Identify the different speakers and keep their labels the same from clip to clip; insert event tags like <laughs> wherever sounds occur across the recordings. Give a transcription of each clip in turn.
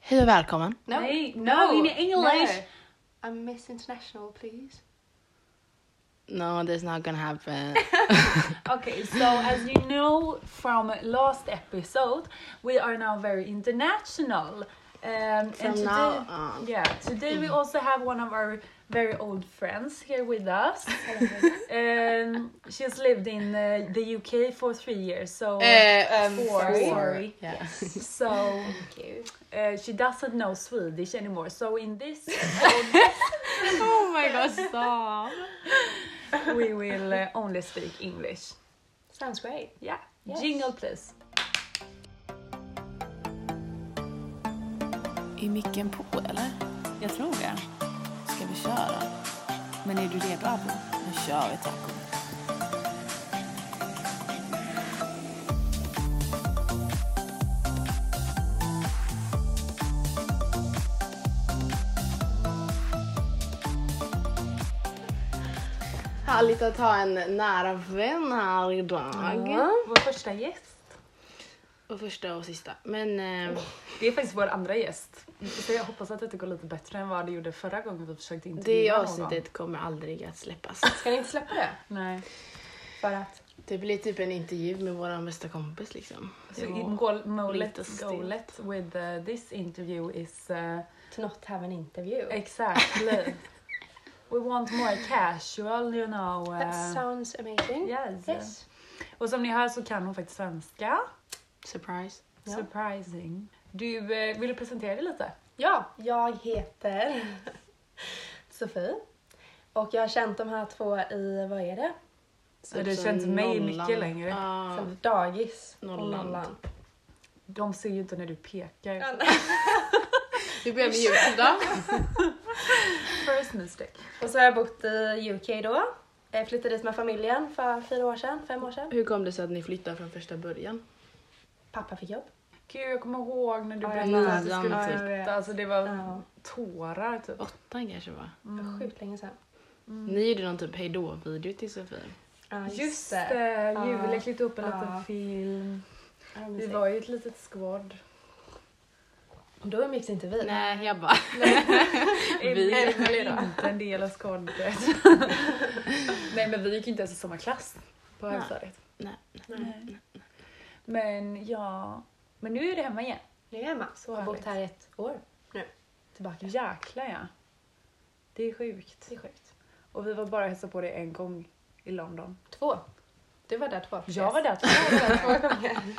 Speaker 1: Hej och välkommen.
Speaker 2: No.
Speaker 3: Nej,
Speaker 2: no.
Speaker 3: no, in English.
Speaker 2: No. I'm Miss International, please.
Speaker 1: No, this not gonna
Speaker 3: <laughs>
Speaker 1: happen.
Speaker 3: Okay, so as you know from last episode, we are now very international. Um, and
Speaker 1: From
Speaker 3: today,
Speaker 1: now on.
Speaker 3: yeah, today we also have one of our very old friends here
Speaker 1: <laughs>
Speaker 3: with us. um, she has lived in uh, the UK for three years, so
Speaker 1: Eh,
Speaker 2: um,
Speaker 3: four,
Speaker 2: sorry.
Speaker 3: sorry.
Speaker 1: Yeah.
Speaker 3: So
Speaker 2: Thank you.
Speaker 3: uh, she doesn't know Swedish anymore. So in this,
Speaker 1: <laughs> oh my
Speaker 3: <laughs>
Speaker 1: god, stop.
Speaker 3: we will uh, only speak English.
Speaker 2: Sounds great.
Speaker 3: Yeah,
Speaker 2: Yes.
Speaker 3: jingle please.
Speaker 4: Är micken på eller? Jag tror det. Ska vi köra? Men är du redo Abo? Nu kör vi taco.
Speaker 1: Härligt att ha en nära vän här idag.
Speaker 3: Vår första gäst.
Speaker 1: Och första och sista. Men ehm,
Speaker 3: Det är faktiskt vår andra gäst. Så jag hoppas att det går lite bättre än vad det gjorde förra gången vi försökte
Speaker 1: det
Speaker 3: intervjua någon.
Speaker 1: avsnittet kommer aldrig att
Speaker 3: <laughs>
Speaker 1: släppas.
Speaker 2: Ska ni inte släppa det?
Speaker 3: Nej.
Speaker 2: För att...
Speaker 1: Det blir typ en intervju med vår bästa kompis liksom.
Speaker 3: Så
Speaker 1: Det var-
Speaker 3: in goal,
Speaker 1: lite
Speaker 3: målet,
Speaker 1: stelt.
Speaker 3: goalet with uh, this interview is uh,
Speaker 2: To not have an interview.
Speaker 3: exactly. We want more casual, you know.
Speaker 2: That
Speaker 3: Uh,
Speaker 2: sounds amazing.
Speaker 3: yes.
Speaker 2: Yes.
Speaker 3: Och som ni hör så kan hon faktiskt svenska.
Speaker 1: Surprise.
Speaker 2: Ja.
Speaker 3: Surprising. Du, eh, vill du presentera dig lite?
Speaker 2: Ja, jag heter Sofie. Och jag har känt de här två i, vad är det?
Speaker 1: Typ
Speaker 3: Så det känns mig
Speaker 1: nollan.
Speaker 3: mycket längre.
Speaker 1: Ja.
Speaker 2: Sen dagis. och
Speaker 1: Nollan.
Speaker 3: De ser ju inte när du pekar.
Speaker 1: Du börjar med
Speaker 3: <laughs>
Speaker 1: ljudet.
Speaker 3: First mistake.
Speaker 2: Och så har jag bott i UK då. Jag flyttade dit med familjen för fyra år sedan, fem år sedan.
Speaker 1: Hur kom det sig att ni flyttade från första början?
Speaker 2: Pappa fick jobb.
Speaker 3: Gud, jag kommer ihåg när du
Speaker 2: Ja, jag
Speaker 3: berättade att du
Speaker 1: minns.
Speaker 3: skulle
Speaker 1: Ja, jag
Speaker 2: vet.
Speaker 3: flytta. Alltså det var
Speaker 2: Ja.
Speaker 3: tårar typ.
Speaker 1: Åttan kanske va?
Speaker 2: Mm. Sjukt länge sedan.
Speaker 3: Mm.
Speaker 1: Ni gjorde någon typ hejdå-video till Sofie.
Speaker 2: Ja,
Speaker 3: Just det,
Speaker 2: Ja.
Speaker 3: Julia klippte upp en
Speaker 2: Ja.
Speaker 3: liten film.
Speaker 2: Ja,
Speaker 3: Vi
Speaker 2: mysigt.
Speaker 3: var ju ett litet squad.
Speaker 2: Då umgicks inte vi.
Speaker 1: Nej, jag bara...
Speaker 3: Vi
Speaker 1: Emily
Speaker 3: var inte en del av squadet. Nej men vi gick ju inte ens i samma klass på
Speaker 1: Nej.
Speaker 3: högstadiet.
Speaker 1: Nej.
Speaker 3: Nej. Men ja, men nu är du hemma igen.
Speaker 2: Nu är jag hemma. Så har jag bott
Speaker 3: härligt.
Speaker 2: här i ett år.
Speaker 3: Tillbaka. Jäklar ja. Det är sjukt.
Speaker 2: Det är sjukt.
Speaker 3: Och vi var bara och hälsade på dig en gång i London.
Speaker 2: Två. Du var där två.
Speaker 3: Jag var där två
Speaker 2: två gånger.
Speaker 3: gånger.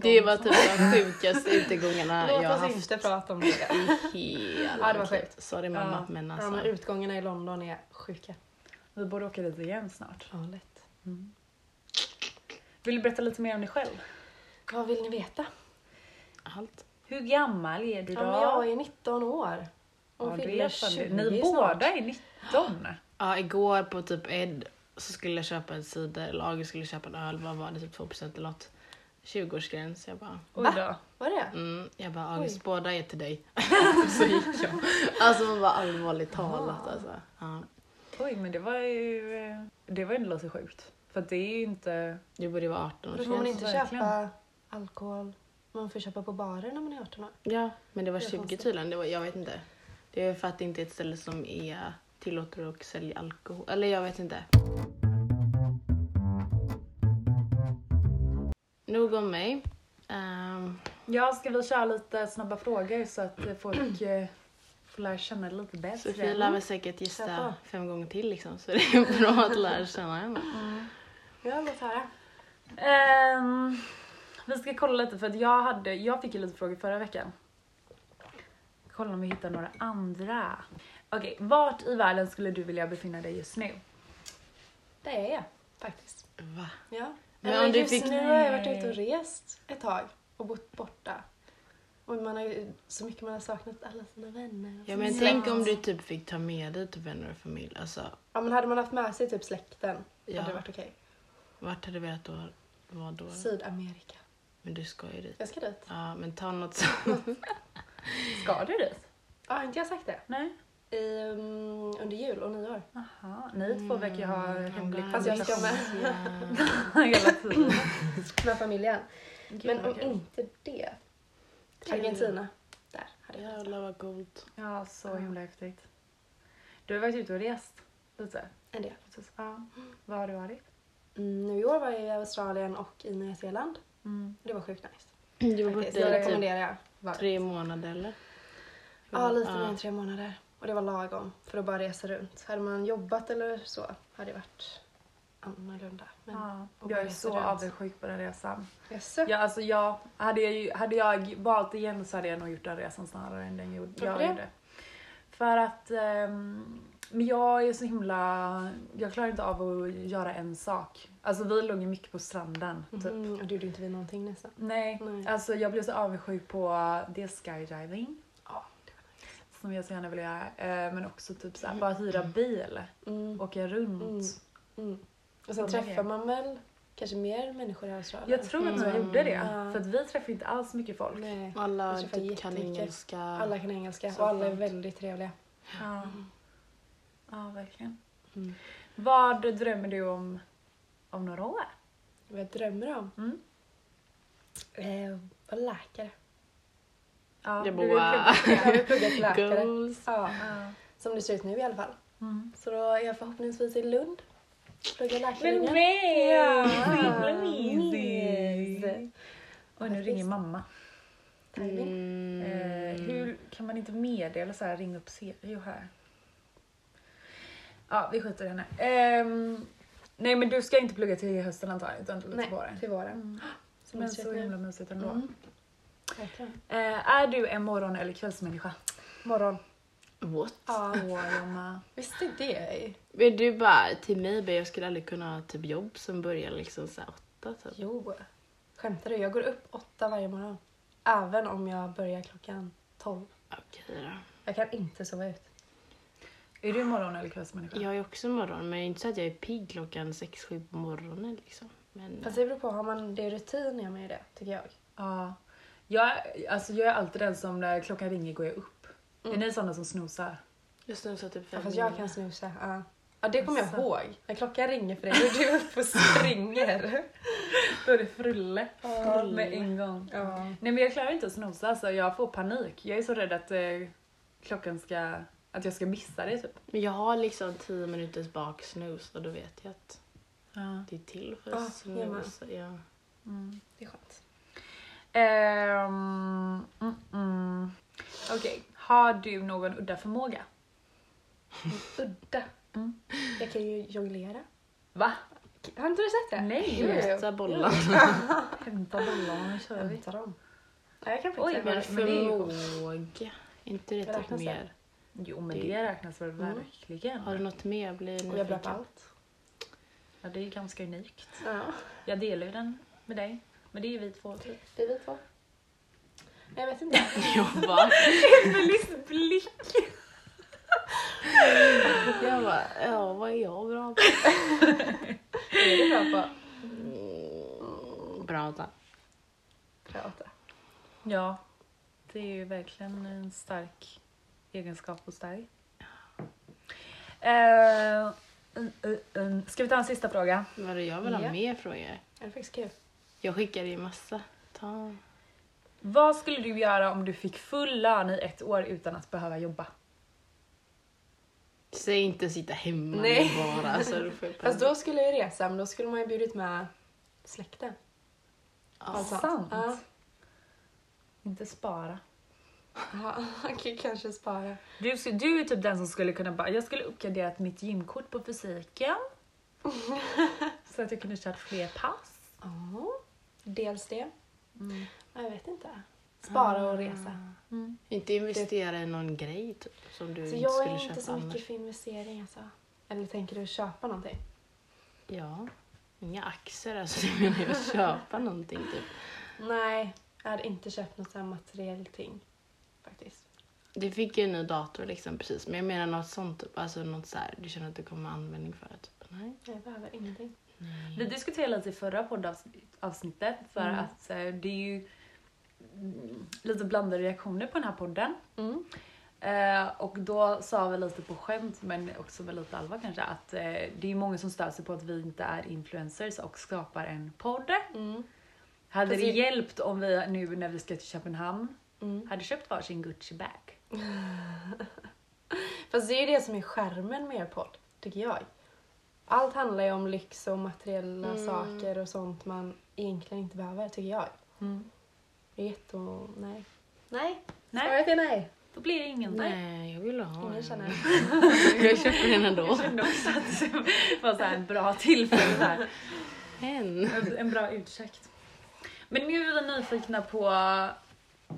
Speaker 1: Det var typ de sjukaste utegångarna
Speaker 2: <laughs> Låt
Speaker 1: jag har
Speaker 2: oss
Speaker 1: haft
Speaker 2: inte prata om det.
Speaker 1: i hela
Speaker 2: <laughs> Ja, det var
Speaker 1: mitt liv.
Speaker 2: sjukt.
Speaker 1: Sorry mamma,
Speaker 3: Ja.
Speaker 1: men
Speaker 2: Ja,
Speaker 1: alltså.
Speaker 2: men utgångarna i London är sjuka.
Speaker 3: Vi borde åka dit igen snart.
Speaker 2: Ja, lätt.
Speaker 3: Vill du berätta lite mer om dig själv?
Speaker 2: Vad vill ni veta?
Speaker 1: Allt.
Speaker 3: Hur gammal är du
Speaker 2: Ja,
Speaker 3: då?
Speaker 2: men jag är 19 år.
Speaker 3: Ja,
Speaker 2: Och
Speaker 3: du är
Speaker 2: fyller
Speaker 3: fan
Speaker 2: 20
Speaker 3: det. Ni
Speaker 2: snart.
Speaker 3: båda är 19.
Speaker 1: Ja, igår på typ Ed så skulle jag köpa en cider, eller August skulle köpa en öl, vad var det, typ 2% eller något. 20-årsgräns. Jag bara,
Speaker 3: Oj då.
Speaker 2: Var det?
Speaker 1: mm. jag bara August båda är till dig. <laughs> så gick jag. Alltså man bara allvarligt talat alltså. Ja.
Speaker 3: Oj, men det var ju... eh, Det var ju ändå lite sjukt. För att det är ju inte...
Speaker 1: Du borde vara 18
Speaker 2: Då får man
Speaker 1: årsgräns.
Speaker 2: inte
Speaker 3: verkligen.
Speaker 2: köpa alkohol. Man får köpa på barer när man är 18 år.
Speaker 1: Ja, men det var
Speaker 2: Det är
Speaker 1: 20
Speaker 2: konstigt.
Speaker 1: tydligen. Det var, jag vet inte. Det är för att det inte är ett ställe som är tillåter att sälja alkohol. Eller jag vet inte. Nog om mig. Ehm,
Speaker 3: Ja, ska vi köra lite snabba frågor så att eh, folk eh, får lära känna dig lite bättre? Mm.
Speaker 1: Sofie lär väl säkert
Speaker 2: Kör
Speaker 1: gissa
Speaker 2: på.
Speaker 1: fem gånger till liksom. Så det är bra att lära känna henne.
Speaker 2: Ja, låt höra.
Speaker 3: Ehm, vi ska kolla lite för att jag, hade, jag fick ju lite frågor förra veckan. Kolla om vi hittar några andra. Okej, vart i världen skulle du vilja befinna dig just nu?
Speaker 2: Det är jag faktiskt.
Speaker 1: Va?
Speaker 2: Ja.
Speaker 1: Men
Speaker 2: Eller
Speaker 1: om du
Speaker 2: just
Speaker 1: fick-
Speaker 2: nu har jag varit ute och rest ett tag och bott borta. Och man har ju så mycket man har saknat alla sina vänner. och
Speaker 1: Ja
Speaker 2: så-
Speaker 1: men tänk om du typ fick ta med dig typ vänner och familj. Alltså
Speaker 2: ja men hade man haft med sig typ släkten
Speaker 1: Ja.
Speaker 2: hade det varit okej.
Speaker 1: vart hade du velat då- vara då?
Speaker 2: Sydamerika.
Speaker 1: Men du ska ju dit.
Speaker 2: Jag ska dit.
Speaker 1: Ja men ta något som...
Speaker 3: Ska du dit?
Speaker 2: Ja, har inte jag sagt det?
Speaker 3: Nej.
Speaker 2: I, um, under jul och nyår. <laughs>
Speaker 3: Aha, ni två verkar ju ha hemlig
Speaker 2: Fast Mm, jag ska
Speaker 3: kommunikation
Speaker 2: med.
Speaker 1: Ja.
Speaker 3: <laughs> hela
Speaker 2: <laughs>
Speaker 3: tiden.
Speaker 2: Med familjen.
Speaker 3: Gud,
Speaker 2: men
Speaker 3: vad
Speaker 2: om
Speaker 3: kul.
Speaker 2: inte det. Argentina.
Speaker 1: Jävlar vad coolt.
Speaker 3: Ja, så
Speaker 2: Ja.
Speaker 3: himla häftigt. Du har varit ute och rest lite.
Speaker 2: En del.
Speaker 3: Precis. Ja. Var har du varit?
Speaker 2: Mm, nu i år var jag i Australien och i Nya Zeeland.
Speaker 3: Mm.
Speaker 2: Det var sjukt nice.
Speaker 1: Du var
Speaker 2: Faktiskt.
Speaker 1: borta
Speaker 2: Det
Speaker 1: i typ
Speaker 2: rekommenderar jag.
Speaker 1: tre månader eller?
Speaker 2: Ja, lite mer än tre månader. Och det var lagom för att bara resa runt. Hade man jobbat eller så hade det varit annorlunda. Men
Speaker 3: Ja.
Speaker 2: och
Speaker 3: Jag är
Speaker 2: bara
Speaker 3: så
Speaker 2: resa runt.
Speaker 3: avundsjuk på den resan.
Speaker 2: Jaså?
Speaker 3: Ja, alltså jag, hade, jag ju, hade jag valt igen så hade jag nog gjort den resan snarare än den gjorde.
Speaker 2: Varför
Speaker 3: jag
Speaker 2: det?
Speaker 3: gjorde. För att ehm, men jag är så himla... Jag klarar inte av att göra en sak. Alltså vi låg ju mycket på stranden. Typ.
Speaker 2: Mm, och det gjorde inte vi någonting nästan.
Speaker 3: Nej,
Speaker 2: Nej.
Speaker 3: alltså jag blev så avundsjuk på det skydiving
Speaker 2: Ja.
Speaker 3: som jag så gärna vill göra. eh, Men också typ såhär, bara hyra bil,
Speaker 2: Mm.
Speaker 3: åka runt.
Speaker 2: Mm. Mm. Och sen
Speaker 3: Sådana
Speaker 2: träffar
Speaker 3: grejer.
Speaker 2: man väl kanske mer människor i Australien?
Speaker 3: Jag tror att vi
Speaker 1: Mm.
Speaker 3: gjorde det,
Speaker 2: Ja.
Speaker 3: för att vi träffade inte alls mycket folk.
Speaker 2: Nej.
Speaker 1: Alla
Speaker 2: Jag träffade
Speaker 1: typ kan
Speaker 2: jättemycket.
Speaker 1: engelska.
Speaker 2: Alla kan engelska
Speaker 1: Så
Speaker 2: och alla är
Speaker 1: skönt.
Speaker 2: väldigt trevliga.
Speaker 3: Ja. ja, verkligen.
Speaker 1: Mm.
Speaker 3: Vad drömmer du om om några år?
Speaker 2: Vad jag drömmer om?
Speaker 3: Mm.
Speaker 2: Eh, vara <laughs> läkare.
Speaker 3: Ja,
Speaker 1: Jag
Speaker 3: du
Speaker 1: bara,
Speaker 3: vill plugga.
Speaker 2: Jag <laughs> vill plugga till läkare.
Speaker 1: Goals.
Speaker 2: Ja,
Speaker 3: Ja.
Speaker 2: som det ser ut nu i alla fall.
Speaker 3: Mm.
Speaker 2: Så då är jag förhoppningsvis i Lund. Plugga läkarlinjen.
Speaker 3: nej!
Speaker 2: Ja.
Speaker 3: mysigt. Oj, nu ringer mamma.
Speaker 2: Timing.
Speaker 1: Mm.
Speaker 2: Mm.
Speaker 3: Eh, hur kan man inte meddela så här, ring upp Siri och här? Ja, vi skiter i henne. Ehm, nej, men du ska inte plugga till hösten antagligen, utan lite
Speaker 2: Nej, typ Mm.
Speaker 3: på våren.
Speaker 2: till våren.
Speaker 3: Men
Speaker 2: ser
Speaker 3: Mm. så
Speaker 2: ut nu.
Speaker 3: himla mysigt ändå.
Speaker 2: Mm. Verkligen.
Speaker 3: Eh, är du en morgon eller kvällsmänniska?
Speaker 2: Morgon.
Speaker 1: What?
Speaker 2: Ja,
Speaker 3: Åh, jag med.
Speaker 2: visst är det?
Speaker 1: Men du bara, till mig, bara, jag skulle aldrig kunna ha typ jobb som börjar liksom såhär åtta typ.
Speaker 2: Jo. Skämtar du? Jag går upp åtta varje morgon. Även om jag börjar klockan tolv.
Speaker 1: Okej då.
Speaker 2: Jag kan inte sova ut.
Speaker 3: Är du en morgon eller kvällsmänniska?
Speaker 1: Jag är också morgon, men det är inte så att jag är pigg klockan sex sju på morgonen liksom. Men
Speaker 2: Fast det beror på, har man det rutin gör man ju det, tycker jag.
Speaker 3: Ja. Jag, alltså, jag är alltid den som när klockan ringer går jag upp.
Speaker 2: Mm.
Speaker 3: Är ni sådana som snosar?
Speaker 1: jag snusar typ
Speaker 2: Ja,
Speaker 1: fem
Speaker 2: fast jag
Speaker 1: minuter.
Speaker 2: kan snusa. Ja. Ja, det kommer jag
Speaker 3: Alltså.
Speaker 2: ihåg. När klockan ringer för dig går du upp och springer.
Speaker 3: <laughs> Då är det frulle.
Speaker 2: Ja,
Speaker 3: Med en gång.
Speaker 2: Ja.
Speaker 3: Nej men jag klarar inte att snosa alltså, jag får panik. Jag är så rädd att eh, klockan ska, att jag ska missa det typ.
Speaker 1: Men jag har liksom tio minuters baksnus och då vet jag att det är till för
Speaker 2: Ah,
Speaker 1: att snusa. Ja.
Speaker 3: Mm.
Speaker 2: Det är skönt.
Speaker 3: Ehm, mm, mm. Okej, har du någon udda <laughs> förmåga?
Speaker 2: Udda.
Speaker 3: Mm.
Speaker 2: Jag kan ju jonglera.
Speaker 3: Va?
Speaker 2: Har inte du sett det?
Speaker 3: Nej.
Speaker 2: Jo, jo.
Speaker 1: Hämta bollar.
Speaker 3: Hämta bollarna och kör vi.
Speaker 2: Hämta dem. Nej, jag kan
Speaker 3: Oj,
Speaker 2: faktiskt inte.
Speaker 1: Men
Speaker 3: men det är ju coolt.
Speaker 1: förmåga. Inte det typ
Speaker 2: Räknas det?
Speaker 1: mer?
Speaker 3: Jo men det räknas väl verkligen.
Speaker 1: Har du något mer? Jag Blir
Speaker 2: Och jag är bra på
Speaker 1: nyfiken.
Speaker 2: allt.
Speaker 3: Ja, det är ju ganska unikt.
Speaker 2: Ja.
Speaker 3: Jag delar ju den med dig. Men det är ju vi två typ.
Speaker 2: Det är vi två. Nej, Jag vet inte. <laughs>
Speaker 1: <laughs> Jag bara,
Speaker 3: Emelies blick!
Speaker 1: jag bara, ja vad är jag bra på?
Speaker 2: Det är du bra på.
Speaker 1: Mm, Prata.
Speaker 2: Prata.
Speaker 3: Ja, det är ju verkligen en stark egenskap hos dig. Eh, en- en- en- Ska vi ta en sista fråga?
Speaker 1: Men det jag vill ha
Speaker 2: Ja.
Speaker 1: mer frågor.
Speaker 2: Det är faktiskt kul.
Speaker 1: Jag skickar ju massa. Ta.
Speaker 3: Vad skulle du göra om du fick full lön i ett år utan att behöva jobba?
Speaker 1: Säg inte sitta hemma
Speaker 2: Nej.
Speaker 1: Nej. bara. Så
Speaker 2: <laughs>
Speaker 1: du får jag
Speaker 2: Fast då skulle jag ju resa, men då skulle man ju bjudit med släkten. Alltså,
Speaker 1: ja.
Speaker 3: sant.
Speaker 2: Ja.
Speaker 3: Inte spara.
Speaker 2: Ja, <laughs> man kan ju kanske spara.
Speaker 3: Du, sk- du är typ den som skulle kunna bara, jag skulle uppgraderat mitt gymkort på fysiken. så att jag kunde kört fler pass.
Speaker 2: Ja, Mm. dels det. Ja, Jag vet inte. Spara och resa.
Speaker 1: Inte investera i någon grej typ, som du
Speaker 2: Så
Speaker 1: inte
Speaker 2: Alltså, jag
Speaker 1: skulle
Speaker 2: är inte
Speaker 1: köpa
Speaker 2: så mycket
Speaker 1: annars.
Speaker 2: för investering alltså. Eller tänker du köpa någonting?
Speaker 1: Ja. Inga aktier alltså, <laughs> jag menar jag köpa någonting typ.
Speaker 2: Nej, jag hade inte köpt något sånt här materiellt ting. Faktiskt.
Speaker 1: Du fick ju en ny dator liksom precis, men jag menar något sånt typ. Alltså något så här, du känner att du kommer ha användning för det typ. Nej.
Speaker 2: Jag behöver ingenting.
Speaker 3: Vi diskuterade lite i förra poddavsnittet för
Speaker 2: Mm.
Speaker 3: att eh, det är ju mm, lite blandade reaktioner på den här podden.
Speaker 2: Mm.
Speaker 3: Eh, och då sa vi lite på skämt men också med lite allvar kanske att eh, det är ju många som stör sig på att vi inte är influencers och skapar en podd.
Speaker 2: Mm.
Speaker 3: Hade
Speaker 2: Fast
Speaker 3: det
Speaker 2: vi-
Speaker 3: hjälpt om vi nu när vi ska till Köpenhamn
Speaker 2: Mm.
Speaker 3: hade köpt varsin Gucci-bag.
Speaker 2: Fast det är ju det som är skärmen med er podd, tycker jag. Allt handlar ju om lyx och materiella saker och sånt man egentligen inte behöver, tycker jag. Det är jätte... Nej. Mm. Nej.
Speaker 3: Nej.
Speaker 2: Svaret är nej. Mm.
Speaker 3: Då blir det ingen typ.
Speaker 1: Nej, jag ville ha
Speaker 2: Ingen
Speaker 1: en.
Speaker 2: känner.
Speaker 1: <laughs> Jag köper en ändå.
Speaker 3: Jag kände också att det var så här ett bra tillfälle där.
Speaker 1: En.
Speaker 3: En- En bra ursäkt. Men nu är vi nyfikna på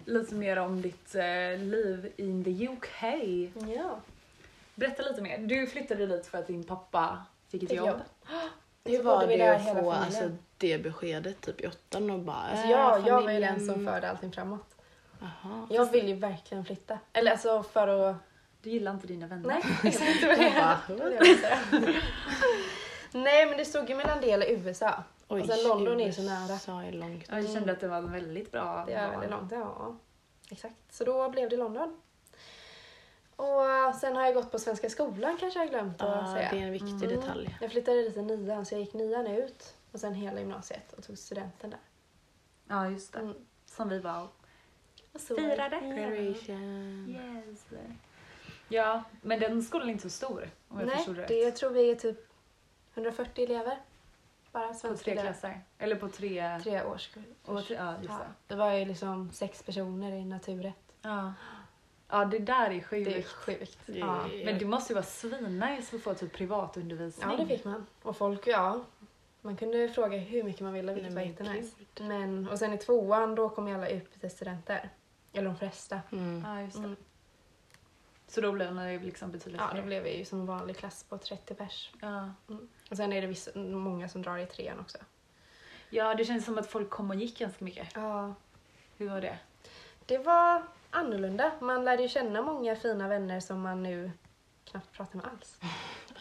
Speaker 3: lite mer om ditt eh, liv in the UK.
Speaker 2: Ja.
Speaker 3: Berätta lite mer. Du flyttade dit för att din pappa fick ett
Speaker 2: Fick
Speaker 3: jobb.
Speaker 2: jobb.
Speaker 1: Hur
Speaker 2: Så
Speaker 1: var
Speaker 2: bodde vi
Speaker 1: det
Speaker 2: där
Speaker 1: att
Speaker 2: hela
Speaker 1: få
Speaker 2: familjen.
Speaker 1: alltså, det beskedet typ i åttan och bara...
Speaker 2: Alltså
Speaker 1: eh,
Speaker 2: jag, jag var ju
Speaker 1: familjen-
Speaker 2: den som förde allting framåt.
Speaker 1: Jaha.
Speaker 2: Jag vill ju verkligen flytta. Eller alltså för
Speaker 1: <laughs>
Speaker 2: att...
Speaker 3: Du gillar inte dina vänner.
Speaker 2: Nej, <laughs> exakt. Det var det jag- det var det jag ville säga. <laughs> Nej, men det stod ju mellan det eller USA.
Speaker 1: Oj,
Speaker 2: och sen Alltså, London är ju så nära.
Speaker 1: USA är långt.
Speaker 3: Ja, Jag kände att det var en väldigt bra
Speaker 2: Det är
Speaker 3: val.
Speaker 2: väldigt långt, ja. Exakt. Så då blev det London. Och sen har jag gått på Svenska skolan kanske jag Mm. har glömt att
Speaker 1: Ja,
Speaker 2: säga.
Speaker 1: Ah, det är en viktig detalj.
Speaker 2: Jag flyttade dit i nian, så jag gick nian ut och sen hela gymnasiet och tog studenten där.
Speaker 3: Ja, just det.
Speaker 2: Mm.
Speaker 3: Som vi var
Speaker 2: Och så-
Speaker 3: och firade.
Speaker 1: Graduation.
Speaker 3: Yes. Ja, men den skolan är inte så stor om jag
Speaker 2: Nej,
Speaker 3: förstod rätt.
Speaker 2: det jag tror vi är typ 140 elever. Bara
Speaker 3: På
Speaker 2: svenska
Speaker 3: tre klasser. Eller på tre...
Speaker 2: Tre årskull.
Speaker 3: och tre... Ja, just
Speaker 2: Ja, det
Speaker 3: det.
Speaker 2: var ju liksom sex personer i naturrätt.
Speaker 3: Ja. ja, det där är
Speaker 2: Det är
Speaker 3: sjukt.
Speaker 2: sjukt.
Speaker 1: Det-
Speaker 2: Ja.
Speaker 3: Men det måste ju vara svinnice att få typ privatundervisning.
Speaker 2: Ja, det fick man. Och folk, ja. Man kunde fråga hur mycket man ville, vilket
Speaker 1: Nej,
Speaker 2: var
Speaker 1: men
Speaker 2: jättenice. Men, och sen i tvåan, då kom ju alla utbytesstudenter. Eller de flesta.
Speaker 1: Mm.
Speaker 3: Ja, just det.
Speaker 2: Mm.
Speaker 3: Så då blev det liksom betydligt
Speaker 2: Ja, då
Speaker 3: fler.
Speaker 2: blev vi ju som en vanlig klass på 30 pers.
Speaker 3: Ja.
Speaker 2: Och sen är det vissa, många som drar i trean också.
Speaker 3: ja, det känns som att folk kom och gick ganska mycket.
Speaker 2: Ja,
Speaker 3: Hur var det?
Speaker 2: det var annorlunda. Man lärde ju känna många fina vänner som man nu knappt pratar med <laughs> alls.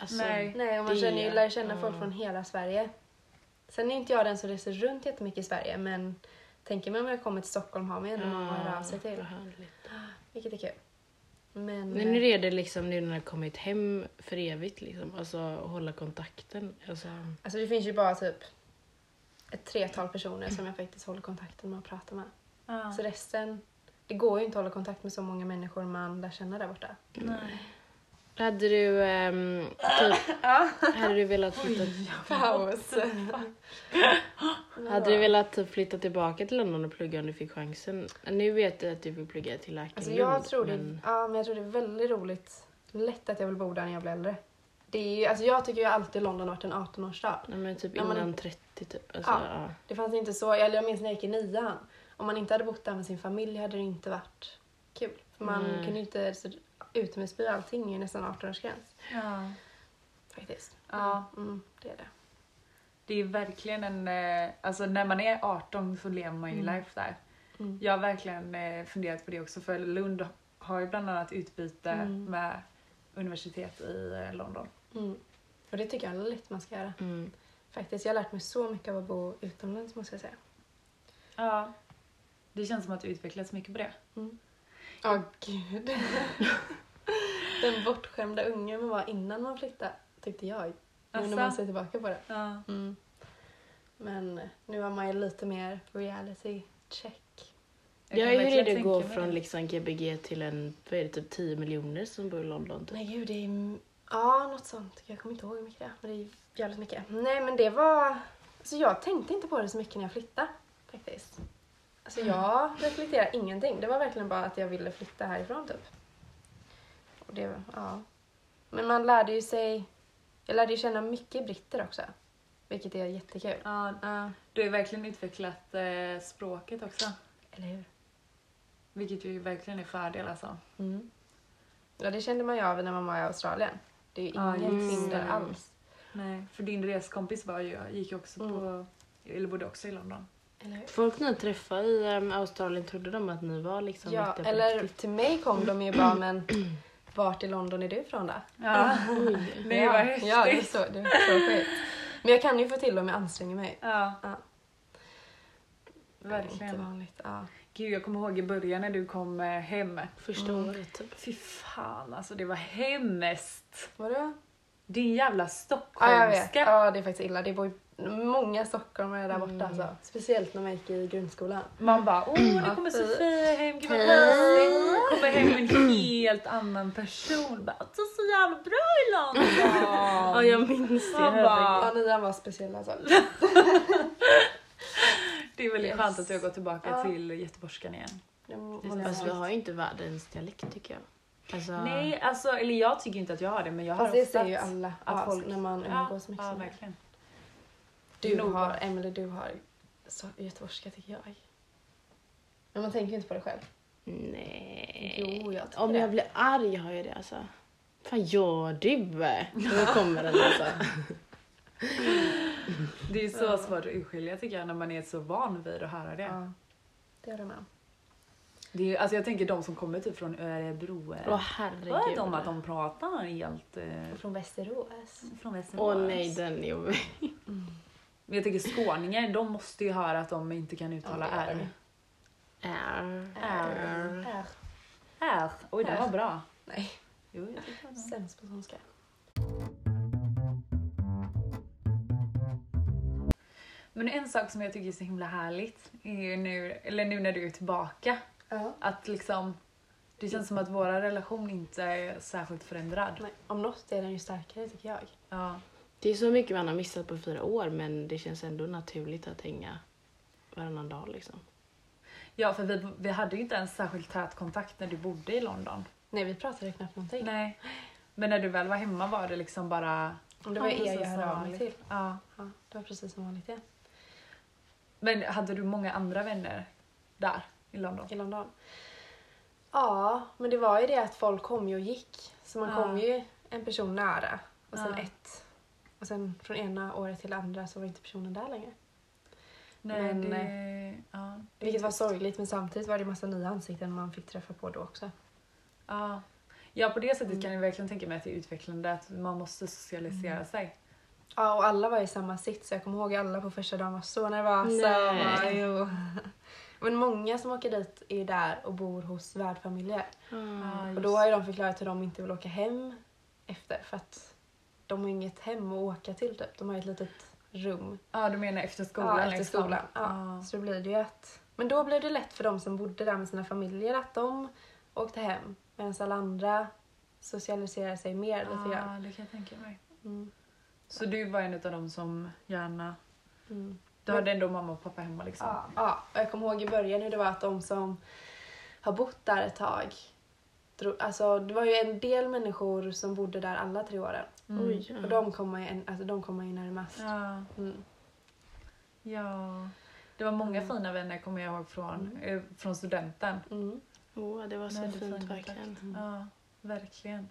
Speaker 1: Alltså,
Speaker 3: Nej.
Speaker 2: Nej, och man
Speaker 1: Det-
Speaker 2: känner ju, lär känna folk
Speaker 1: ja.
Speaker 2: från hela Sverige. Sen är inte jag den som reser runt jättemycket i Sverige, men tänker man om jag kommer till Stockholm har man ju ändå någon att höra av sig till.
Speaker 1: vad härligt.
Speaker 2: Vilket är kul. Men, eh,
Speaker 1: Men hur är det liksom nu när du har kommit hem för evigt? Liksom? Alltså hålla kontakten? Alltså,
Speaker 2: alltså det finns ju bara typ ett tretal personer som jag faktiskt håller kontakten med och pratar med.
Speaker 3: Ja.
Speaker 2: Så resten, det går ju inte att hålla kontakt med så många människor man lär känna där borta.
Speaker 3: Nej.
Speaker 1: hade du ehm, typ, hade du velat flytta,
Speaker 2: Paus!
Speaker 1: hade du velat typ flytta tillbaka till London och plugga om du fick chansen? Nu vet jag att du vill plugga till läkarlund.
Speaker 2: Alltså jag tror det,
Speaker 1: men-
Speaker 2: ja, men jag tror det är väldigt roligt. Lätt att jag vill bo där när jag blir äldre. Det är ju, alltså jag tycker ju alltid London har varit en 18-årsstad.
Speaker 1: Nej, men typ
Speaker 2: Ja, men-
Speaker 1: innan 30 typ. Alltså,
Speaker 2: Ja.
Speaker 1: ja.
Speaker 2: Det fanns inte så, eller jag minns när jag gick i nian. Om man inte hade bott där med sin familj hade det inte varit kul. För man
Speaker 1: Nej.
Speaker 2: kunde ju inte, så utomhusby och allting är ju nästan 18-årsgräns
Speaker 3: Ja.
Speaker 2: faktiskt.
Speaker 3: ja.
Speaker 2: Mm, det är det.
Speaker 3: Det är verkligen en... eh, Alltså när man är 18 så lever man ju life där.
Speaker 2: Mm.
Speaker 3: Jag har verkligen eh, funderat på det också för Lund har ju bland annat utbyte
Speaker 2: Mm.
Speaker 3: med universitet i eh, London.
Speaker 2: Mm. Och det tycker jag lätt man ska göra.
Speaker 1: Mm.
Speaker 2: Faktiskt, jag har lärt mig så mycket av att bo utomlands måste jag säga.
Speaker 3: Ja. Det känns som att det utvecklats mycket på det.
Speaker 2: Ja, gud. <laughs> Den bortskämda ungen man var innan man flyttade, tyckte jag. Nu
Speaker 3: Asså?
Speaker 2: när man ser tillbaka på det.
Speaker 3: Ja.
Speaker 2: Mm. Men eh, nu har man ju lite mer reality check.
Speaker 1: Jag,
Speaker 3: kan
Speaker 1: är ju
Speaker 3: verkligen
Speaker 1: redo att gå
Speaker 3: tänka mig
Speaker 1: från
Speaker 3: det.
Speaker 1: liksom GBG till en, vad är det, typ 10 miljoner som bor i London. Typ.
Speaker 2: Nej gud, det är... Ja, något sånt. Jag kommer inte ihåg hur mycket det är, men det är jävligt mycket. Nej, men det var... Alltså jag tänkte inte på det så mycket när jag flyttade, faktiskt. Alltså jag reflekterar ingenting. Det var verkligen bara att jag ville flytta härifrån, typ. Och det, ja. Men man lärde ju sig... Jag lärde ju känna mycket britter också, vilket är jättekul.
Speaker 3: Ja,
Speaker 2: Ja,
Speaker 3: Du har ju verkligen utvecklat eh, språket också.
Speaker 2: eller hur?
Speaker 3: Vilket ju verkligen är fördel alltså.
Speaker 2: Mm. Ja, det kände man ju av när man var i Australien. Det är ju
Speaker 3: Ja,
Speaker 2: inget
Speaker 1: just
Speaker 2: hinder
Speaker 1: det.
Speaker 2: alls.
Speaker 3: Nej, för din reskompis var ju, gick ju också
Speaker 2: Mm.
Speaker 3: på, eller bodde också i London.
Speaker 2: Eller hur?
Speaker 1: Folk ni träffade i ehm, Australien, trodde de att ni var liksom
Speaker 2: Ja,
Speaker 1: riktiga på
Speaker 2: eller
Speaker 1: riktigt?
Speaker 2: till mig kom de ju bara men vart i London är du ifrån då?
Speaker 3: Ja,
Speaker 2: <laughs>
Speaker 3: <laughs>
Speaker 1: Oj.
Speaker 3: det
Speaker 2: ja,
Speaker 3: var
Speaker 2: Ja, det är
Speaker 3: häftigt.
Speaker 2: så, det är så sjukt. Men jag kan ju få till om jag anstränger mig.
Speaker 3: Ja,
Speaker 2: Ja. Inte
Speaker 3: verkligen.
Speaker 2: vanligt. Ja.
Speaker 3: Gud, jag kommer ihåg i början när du kom eh, hem.
Speaker 2: Mm.
Speaker 1: Första året typ.
Speaker 3: Fy fan alltså, det var hemskt.
Speaker 2: Vadå?
Speaker 3: Din jävla
Speaker 2: Ja, jag vet.
Speaker 3: stockholmska.
Speaker 2: Ja, det är faktiskt illa. Det bor ju många stockholmare där borta alltså. Speciellt när man gick i grundskolan.
Speaker 3: Man bara åh nu kommer Sofia hem, gud vad mysigt. Kommer hem med en helt annan person. Bara, det är så jävla bra i
Speaker 1: Ja,
Speaker 3: London.
Speaker 1: jag minns det.
Speaker 3: Man bara,
Speaker 2: Ja, nian var speciell alltså.
Speaker 3: det är väldigt
Speaker 2: Yes.
Speaker 3: skönt att du har gått tillbaka
Speaker 2: Ja.
Speaker 3: till göteborgskan igen.
Speaker 2: De
Speaker 3: Just det.
Speaker 1: Alltså, vi har ju inte världens dialekt tycker jag. Alltså,
Speaker 3: Nej, alltså eller jag tycker inte att jag har det men jag har
Speaker 2: Fast det
Speaker 3: ofta
Speaker 2: ser ju
Speaker 3: att-
Speaker 2: alla
Speaker 3: att
Speaker 2: ja,
Speaker 3: folk-
Speaker 2: när man umgås
Speaker 3: ja,
Speaker 2: mycket.
Speaker 3: ja,
Speaker 2: sådär.
Speaker 3: verkligen.
Speaker 2: du
Speaker 3: Nog
Speaker 2: har,
Speaker 3: bra.
Speaker 2: Emelie, du har så göteborgska tycker jag. Men man tänker ju inte på det själv.
Speaker 1: Nej.
Speaker 2: Jo, jag tycker
Speaker 1: Om jag
Speaker 2: det.
Speaker 1: blir arg har jag det alltså. Fan gör du? Då kommer den alltså.
Speaker 3: Det är ju så svårt att urskilja tycker jag när man är så van vid att höra det.
Speaker 2: Ja. Det är det med.
Speaker 3: det är, ju- alltså jag tänker de som kommer typ från Örebro.
Speaker 1: <laughs> Åh
Speaker 3: Hör
Speaker 1: herregud.
Speaker 3: de att de pratar helt eh,
Speaker 2: Från Västerås.
Speaker 3: från Västerås?
Speaker 1: Åh nej den är jobbig.
Speaker 3: Men jag tänker skåningar, de måste ju höra att de inte kan uttala
Speaker 2: Ja, det gör
Speaker 3: R.
Speaker 2: de.
Speaker 1: Är.
Speaker 3: Är.
Speaker 2: Är.
Speaker 3: R. Oj, det
Speaker 2: Här.
Speaker 3: var bra.
Speaker 2: Nej,
Speaker 3: Jo, jag tyckte det var bra.
Speaker 2: sämst på skånska.
Speaker 3: Men en sak som jag tycker är så himla härligt är ju nu, eller nu när du är tillbaka,
Speaker 2: Ja.
Speaker 3: att liksom det känns som att vår relation inte är särskilt förändrad.
Speaker 2: Nej, om något är den ju starkare tycker jag.
Speaker 3: Ja.
Speaker 1: Det är så mycket man har missat på fyra år men det känns ändå naturligt att hänga varannan dag liksom.
Speaker 3: ja, för vi, vi hade ju inte ens särskilt tät kontakt när du bodde i London.
Speaker 2: Nej, vi pratade knappt någonting.
Speaker 3: Nej. Men när du väl var hemma var det liksom bara...
Speaker 2: Om det var
Speaker 3: Ja,
Speaker 2: er jag
Speaker 3: precis
Speaker 2: hörde
Speaker 3: som
Speaker 2: av mig
Speaker 3: vanligt.
Speaker 2: till.
Speaker 3: Ja.
Speaker 2: Ja, det var precis som vanligt igen.
Speaker 3: Men hade du många andra vänner där i London?
Speaker 2: I London. Ja, men det var ju det att folk kom ju och gick. Så man
Speaker 3: Ja.
Speaker 2: kom ju en person nära. Och sen
Speaker 3: Ja.
Speaker 2: ett. Och sen från ena året till det andra så var inte personen där längre.
Speaker 3: Nej,
Speaker 2: Men,
Speaker 3: det... eh, Ja.
Speaker 2: Vilket var sorgligt men samtidigt var det en massa nya ansikten man fick träffa på då också.
Speaker 3: Ja. ja, på det sättet kan jag verkligen tänka mig att det är utvecklande att man måste socialisera
Speaker 2: Mm.
Speaker 3: sig.
Speaker 2: Ja, och alla var i samma sits. Jag kommer ihåg alla på första dagen var så nervösa. och
Speaker 1: Nej.
Speaker 2: bara, jo. <laughs> Men många som åker dit är ju där och bor hos värdfamiljer.
Speaker 1: Mm.
Speaker 3: Ja,
Speaker 2: Och då har ju de förklarat hur de inte vill åka hem efter för att de har inget hem att åka till typ. De har ett litet rum
Speaker 3: ja, du menar efter skolan?
Speaker 2: ja, efter
Speaker 3: liksom.
Speaker 2: skolan. Ja.
Speaker 3: Ja.
Speaker 2: Så då blir det ju att... Men då blev det lätt för de som bodde där med sina familjer att de åkte hem medan alla andra socialiserade sig mer lite
Speaker 3: Ja,
Speaker 2: grann.
Speaker 3: det kan jag tänka mig.
Speaker 2: Mm.
Speaker 3: Så du var en av de som gärna...
Speaker 2: Mm.
Speaker 3: Du hade ändå mamma och pappa hemma liksom?
Speaker 2: Ja. ja, och jag kommer ihåg i början hur det var att de som har bott där ett tag dro- Alltså det var ju en del människor som bodde där alla tre åren.
Speaker 3: Mm.
Speaker 1: Oj.
Speaker 2: Och de kommer ju, en- alltså, de kommer ju närmast.
Speaker 3: Ja.
Speaker 2: Mm.
Speaker 3: ja. Det var många fina vänner kommer jag ihåg från, eh, från studenten.
Speaker 2: Mm.
Speaker 1: Åh, det var så
Speaker 3: Väldigt fin
Speaker 1: fint
Speaker 3: kontakt.
Speaker 1: verkligen.
Speaker 3: Ja, verkligen.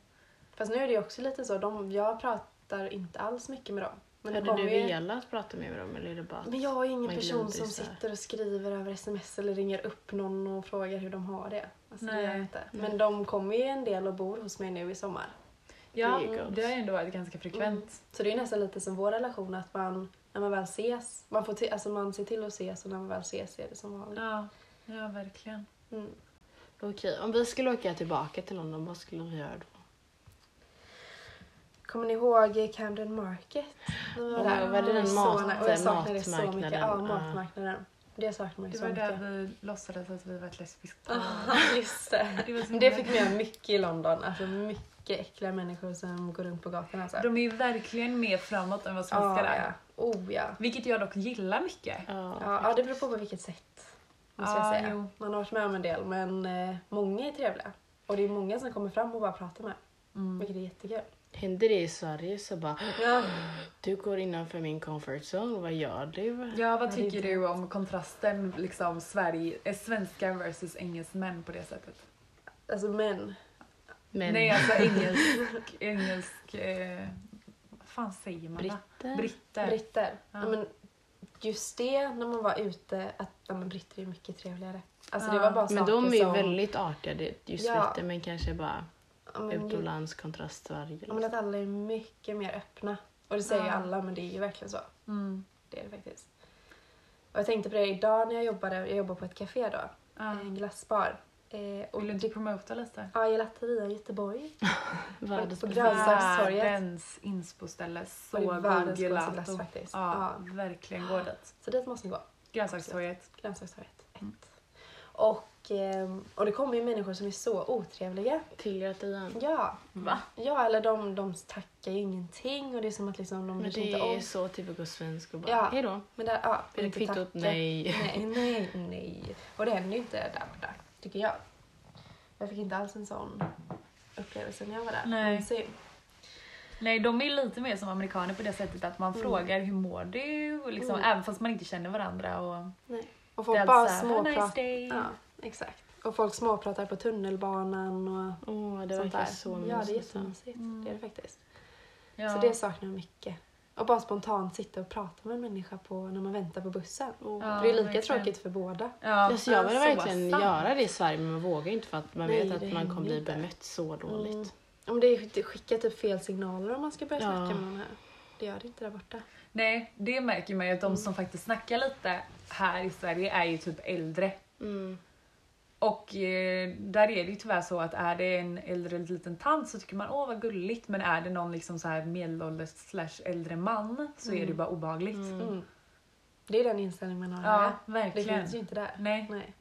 Speaker 2: Fast nu är det ju också lite så, de, jag pratar inte alls mycket med dem. Men, det
Speaker 1: Hade du
Speaker 2: kommer ju-
Speaker 1: velat prata med dem eller är det bara att...
Speaker 2: men jag är ingen
Speaker 1: Man
Speaker 2: person
Speaker 1: glider
Speaker 2: som
Speaker 1: isär.
Speaker 2: sitter och skriver över sms eller ringer upp någon och frågar hur de har det. Alltså, Det
Speaker 3: Nej.
Speaker 2: gör jag inte.
Speaker 1: Nej.
Speaker 2: Men de kommer ju en del och bor hos mig nu i sommar.
Speaker 3: Ja,
Speaker 1: Det är gott.
Speaker 3: det har ju ändå varit ganska frekvent.
Speaker 2: Så det är nästan lite som vår relation att man, när man väl ses, man, får till, alltså man ser till att ses och när man väl ses är det som vanligt.
Speaker 3: Ja, ja verkligen.
Speaker 2: Mm.
Speaker 1: Okej, om vi skulle åka tillbaka till London, vad skulle vi göra då?
Speaker 2: Kommer ni ihåg Camden Market? När vi
Speaker 1: Åh, var det den
Speaker 2: Så
Speaker 1: mat-
Speaker 2: när- och jag saknar det så mycket.
Speaker 1: matmarknaden?
Speaker 2: Ja,
Speaker 1: Ja.
Speaker 2: matmarknaden. Det saknar man ju
Speaker 3: Det
Speaker 2: så
Speaker 3: var där
Speaker 2: mycket.
Speaker 3: vi låtsades att vi var ett lesbiskt par.
Speaker 1: Ah.
Speaker 2: Ja, <laughs> just det.
Speaker 3: Det var så
Speaker 2: Men det
Speaker 3: himla-
Speaker 2: fick man göra mycket i London. Alltså mycket äckliga människor som går runt på gatorna. Alltså.
Speaker 3: De är ju verkligen mer framåt än vad svenskar
Speaker 2: ja,
Speaker 3: är.
Speaker 2: ja. Oh ja.
Speaker 3: Vilket jag dock gillar mycket.
Speaker 1: Ja.
Speaker 2: Ja, ja, det beror på på vilket sätt. Måste
Speaker 3: Ja,
Speaker 2: jag säga.
Speaker 3: jo.
Speaker 2: Man har varit med om en del, men eh, många är trevliga. Och det är många som kommer fram och bara pratar med. Vilket är jättekul.
Speaker 1: Händer det i Sverige så bara
Speaker 2: Ja.
Speaker 1: du går innanför min comfort zone, vad gör du?
Speaker 3: Ja, vad
Speaker 2: det
Speaker 3: tycker
Speaker 2: är
Speaker 3: du om kontrasten liksom Sverige, eh, svenskar versus engelsmän på det sättet?
Speaker 2: Alltså män.
Speaker 1: Men <laughs>
Speaker 3: Nej, alltså engelsk, engelsk, eh, vad fan säger man då?
Speaker 1: britter?
Speaker 3: Britter.
Speaker 2: Britter.
Speaker 3: Ja.
Speaker 2: Ja. men just det, när man var ute, att ja, men britter är mycket trevligare. Alltså
Speaker 3: Ja,
Speaker 2: det var bara
Speaker 1: men de är
Speaker 2: saker
Speaker 1: ju
Speaker 2: som...
Speaker 1: väldigt artiga, det- just
Speaker 2: Ja.
Speaker 1: britter, men kanske bara
Speaker 2: ja, men,
Speaker 1: utomlands kontrast Sverige.
Speaker 2: ja, men
Speaker 1: Liksom.
Speaker 2: att alla är mycket mer öppna. Och det säger ju
Speaker 3: Ja.
Speaker 2: alla, men det är ju verkligen så.
Speaker 3: Mm.
Speaker 2: Det är det faktiskt. Och jag tänkte på det idag när jag jobbade, jag jobbade på ett café då,
Speaker 3: Ja.
Speaker 2: en glassbar. Eh, och
Speaker 3: Vill du inte promota lite?
Speaker 2: ja, gelateria i Göteborg.
Speaker 1: Världens
Speaker 2: på
Speaker 1: bästa.
Speaker 2: Grönsakstorget.
Speaker 3: Världens inspoställe. Så
Speaker 2: Och det är
Speaker 3: god
Speaker 2: världens
Speaker 3: gelato.
Speaker 2: godaste faktiskt.
Speaker 3: Ja, verkligen gå dit.
Speaker 2: Så dit måste ni gå.
Speaker 3: Grönsakstorget.
Speaker 2: Grönsakstorget 1. Och, ehm, och det kommer ju människor som är så otrevliga.
Speaker 1: Tillrätt igen.
Speaker 2: Ja,
Speaker 3: Va?
Speaker 2: ja eller de, de tackar ju ingenting och det är som att liksom de
Speaker 1: Men
Speaker 2: bryr sig
Speaker 1: det
Speaker 2: inte
Speaker 1: är
Speaker 2: om.
Speaker 1: ju så typiskt svensk och bara
Speaker 2: Ja.
Speaker 1: hejdå.
Speaker 2: Men där, ja,
Speaker 1: Är det
Speaker 2: inte
Speaker 1: kvittot?
Speaker 2: tacka.
Speaker 1: Nej.
Speaker 2: Nej, nej, nej. Och det händer ju inte där borta, tycker jag. Jag fick inte alls en sån upplevelse när jag var där.
Speaker 3: Nej.
Speaker 2: Någonsin.
Speaker 3: Nej, de är lite mer som amerikaner på det sättet att
Speaker 2: Mm.
Speaker 3: man frågar hur mår du? Och liksom, Även fast man inte känner varandra. Och...
Speaker 2: Nej. Och
Speaker 3: Det är
Speaker 2: folk bara
Speaker 3: alltså, "Have a nice
Speaker 2: småpratar.
Speaker 3: day."
Speaker 2: ja, exakt. Och folk småpratar på tunnelbanan och
Speaker 1: Åh, det
Speaker 2: sånt
Speaker 1: verkar
Speaker 2: där.
Speaker 1: så
Speaker 2: ja, det är
Speaker 1: mysigt.
Speaker 2: jättemysigt. Det är det faktiskt.
Speaker 3: Mm. Ja.
Speaker 2: Så det saknar jag mycket. Och bara spontant sitta och prata med en människa på, när man väntar på bussen.
Speaker 1: Åh.
Speaker 3: Ja,
Speaker 2: för det är lika
Speaker 3: verkligen.
Speaker 2: tråkigt för båda.
Speaker 3: ja.
Speaker 1: Alltså jag vill
Speaker 3: så
Speaker 1: verkligen
Speaker 3: sant.
Speaker 1: göra det i Sverige men man vågar inte för att man
Speaker 2: Nej,
Speaker 1: vet
Speaker 2: det
Speaker 1: att man kommer
Speaker 2: hänger
Speaker 1: bli
Speaker 2: inte.
Speaker 1: bemött så dåligt.
Speaker 2: Mm. Om det är- det skickar typ fel signaler om man ska börja
Speaker 1: Ja.
Speaker 2: snacka med någon här. Det gör det inte där borta.
Speaker 3: Nej, det märker man ju
Speaker 2: Mm.
Speaker 3: att de som faktiskt snackar lite här i Sverige är ju typ äldre.
Speaker 1: Mm.
Speaker 3: Och eh, där är det ju tyvärr så att är det en äldre liten tant så tycker man åh vad gulligt men är det någon liksom så här medelålders slash äldre man så är det ju bara obehagligt.
Speaker 2: Mm. Det är den inställning man har
Speaker 3: Ja,
Speaker 2: här. Det
Speaker 3: verkligen.
Speaker 2: finns ju inte där.
Speaker 3: Nej.
Speaker 2: Nej,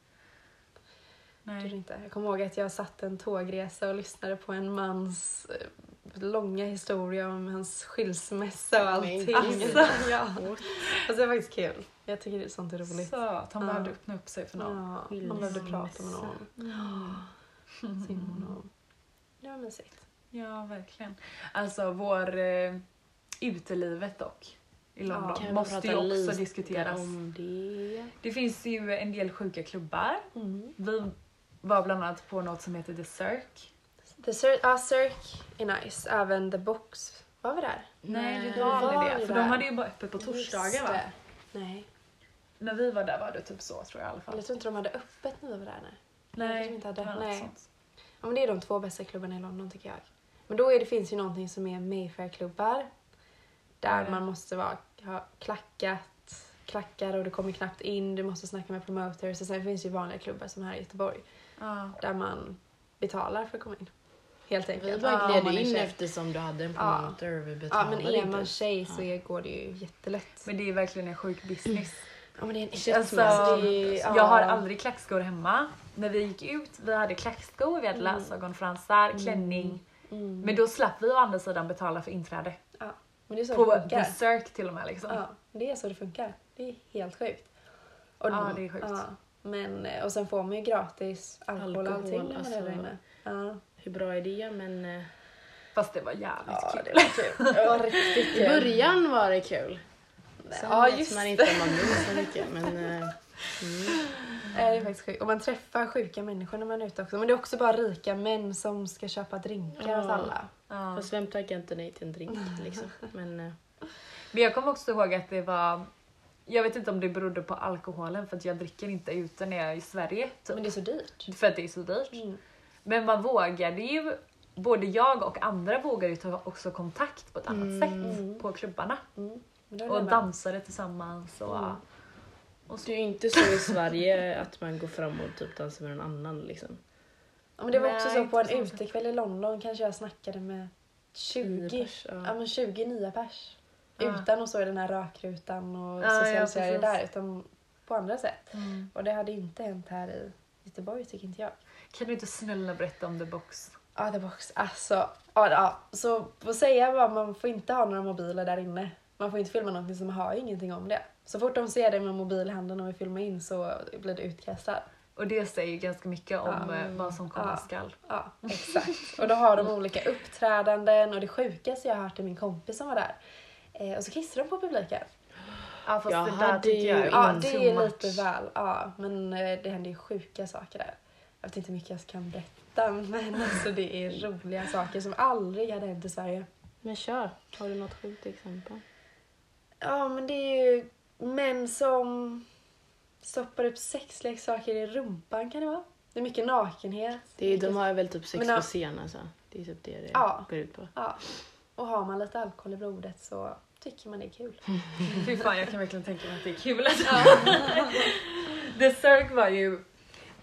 Speaker 2: det är det
Speaker 3: Nej.
Speaker 2: Typ inte. Jag kommer ihåg att jag satt en tågresa och lyssnade på en mans eh, långa historia om hans skilsmässa och
Speaker 1: Men
Speaker 2: allting.
Speaker 1: gud.
Speaker 2: Alltså, ja. alltså, det var faktiskt kul. Jag tycker det är sånt är roligt.
Speaker 3: Så att han
Speaker 2: Ja.
Speaker 3: behövde öppna upp sig för
Speaker 2: Ja,
Speaker 3: någon.
Speaker 2: man behövde prata med
Speaker 1: Skilsmässa.
Speaker 2: någon.
Speaker 3: <laughs>
Speaker 2: Synd om
Speaker 3: Mm.
Speaker 2: honom. Det var mysigt.
Speaker 3: Ja, verkligen. Alltså vår eh, utelivet dock i London
Speaker 1: Kan vi
Speaker 3: måste
Speaker 1: prata
Speaker 3: ju också
Speaker 1: lite
Speaker 3: diskuteras.
Speaker 1: om det?
Speaker 3: Mm, Det finns ju en del sjuka klubbar.
Speaker 2: Mm.
Speaker 3: Vi var bland annat på något som heter The Cirque.
Speaker 2: The Cirque, ah, Cirque är nice. Även The Box. Var vi där?
Speaker 3: Nej,
Speaker 1: Nej,
Speaker 3: det var
Speaker 2: vi var
Speaker 3: aldrig det.
Speaker 2: ju
Speaker 3: För
Speaker 2: där.
Speaker 3: de hade ju bara öppet på torsdagar
Speaker 2: Just
Speaker 3: va?
Speaker 2: det. Nej,
Speaker 3: När vi var där var det typ så tror jag i alla fall.
Speaker 2: jag tror inte de hade öppet när vi var där. Nej.
Speaker 3: Nej,
Speaker 2: kanske inte hade.
Speaker 3: det var något
Speaker 2: Nej.
Speaker 3: sånt.
Speaker 2: Ja, men det är de två bästa klubbarna i London tycker jag. Men då är det, finns ju någonting som är Mayfair-klubbar. Där
Speaker 3: Mm.
Speaker 2: man måste vara, ha klackat, klackar och du kommer knappt in, du måste snacka med promoters. Och sen finns ju vanliga klubbar som här i Göteborg
Speaker 3: Ja.
Speaker 2: där man betalar för att komma in. Helt
Speaker 1: Vi
Speaker 2: enkelt.
Speaker 1: bara
Speaker 3: Ja,
Speaker 1: gled
Speaker 3: man är
Speaker 1: in
Speaker 3: tjej.
Speaker 1: eftersom du hade en
Speaker 2: Ja.
Speaker 1: promoter och vi
Speaker 2: Ja,
Speaker 1: betalade
Speaker 2: men är man
Speaker 1: inte.
Speaker 2: tjej så är, går det ju jättelätt.
Speaker 3: Men det är verkligen en sjuk business.
Speaker 2: ja, men det är en
Speaker 3: Shit, alltså,
Speaker 2: alltså, det är, ja.
Speaker 3: Jag har aldrig klackskor hemma. När vi gick ut, vi hade klackskor, vi hade läsögonfransar, klänning.
Speaker 2: Mm.
Speaker 3: Men då slapp vi å andra sidan betala för inträde.
Speaker 2: Ja, men det är så det
Speaker 3: På
Speaker 2: funkar.
Speaker 3: The Cirque till och med liksom.
Speaker 2: Ja, det är så det funkar. Det är helt sjukt. Och
Speaker 3: Ja, det är sjukt.
Speaker 2: Men, eh, och sen får man ju gratis alkohol, och
Speaker 1: Alkohol,
Speaker 2: allting när man
Speaker 1: alltså.
Speaker 2: är där inne. Ja,
Speaker 1: Hur bra är det? Men eh,
Speaker 3: Fast det var jävligt
Speaker 2: ja
Speaker 3: kul.
Speaker 2: det var kul. Det var riktigt
Speaker 1: i
Speaker 2: kul.
Speaker 1: början var det kul. Sen
Speaker 2: Ja,
Speaker 1: vet
Speaker 2: just
Speaker 1: man
Speaker 2: det.
Speaker 1: inte om man minns så
Speaker 2: <laughs>
Speaker 1: mycket. Men, eh,
Speaker 2: Nej, det är faktiskt sjukt. Och man träffar sjuka människor när man är ute också. Men det är också bara rika män som ska köpa drinkar
Speaker 1: Ja.
Speaker 2: åt alla.
Speaker 3: Ja.
Speaker 1: Fast vem tackar inte nej till en drink
Speaker 2: Mm.
Speaker 1: liksom? Men eh,
Speaker 3: Men jag kommer också ihåg att det var jag vet inte om det berodde på alkoholen för att jag dricker inte ute när jag är i Sverige. Typ.
Speaker 2: Men det är så dyrt.
Speaker 3: För att det är så dyrt.
Speaker 2: Mm.
Speaker 3: Men man vågade ju, både jag och andra vågade ju ta också kontakt på ett annat sätt på klubbarna.
Speaker 2: Men då är Mm. det
Speaker 3: Och
Speaker 2: bara-
Speaker 3: dansade tillsammans och
Speaker 1: det är ju inte så i Sverige att man går fram och typ dansar med någon annan liksom.
Speaker 2: Ja, men det var också
Speaker 3: Nej,
Speaker 2: så på en
Speaker 3: inte så.
Speaker 2: utekväll i London kanske jag snackade med 20,
Speaker 1: Tio pers,
Speaker 2: ja.
Speaker 1: ja.
Speaker 2: men 20 nya pers.
Speaker 3: Ja.
Speaker 2: Utan att stå i den här rökrutan och
Speaker 3: Ja, ja,
Speaker 2: socialisera det
Speaker 3: precis.
Speaker 2: där utan på andra sätt. Och det hade inte hänt här i Göteborg tycker inte jag.
Speaker 3: Kan du inte snälla berätta om The Box?
Speaker 2: Ja, det var också, alltså, ja, ja. Så får säga bara, man får inte ha några mobiler där inne. Man får inte filma någonting som har ju ingenting om det. Så fort de ser dig med mobil i handen och vill filma in så blir du utkastad.
Speaker 3: Och det säger ju ganska mycket om
Speaker 2: Ja.
Speaker 3: eh, vad som komma
Speaker 2: Ja.
Speaker 3: skall.
Speaker 2: Ja,
Speaker 3: <laughs>
Speaker 2: exakt. Och då har de olika uppträdanden och det sjukaste jag har hört är min kompis som var där. Eh, och så kissar de på publiken.
Speaker 3: Ja fast
Speaker 1: Jag
Speaker 3: det där
Speaker 1: hade
Speaker 3: tycker jag
Speaker 1: ju-
Speaker 3: är
Speaker 2: Ja,
Speaker 3: too
Speaker 2: det är
Speaker 3: much.
Speaker 2: lite väl. Ja, men eh, det händer ju sjuka saker där. Jag vet inte hur mycket jag kan berätta <laughs> men alltså det är roliga saker som aldrig hade hänt i Sverige.
Speaker 1: Men kör, har du något sjukt exempel?
Speaker 2: Ja, men det är ju män som stoppar upp sexleksaker i rumpan kan det vara. Det är mycket nakenhet.
Speaker 1: Det är, de
Speaker 2: mycket-
Speaker 1: har väl typ sex
Speaker 2: Men, ja.
Speaker 1: på scen alltså. Det är typ det det
Speaker 2: Ja.
Speaker 1: går ut på.
Speaker 2: Ja. Och har man lite alkohol i blodet så tycker man det är kul.
Speaker 3: Fy <laughs> fan jag kan verkligen tänka mig att det är kul. The Cirque var ju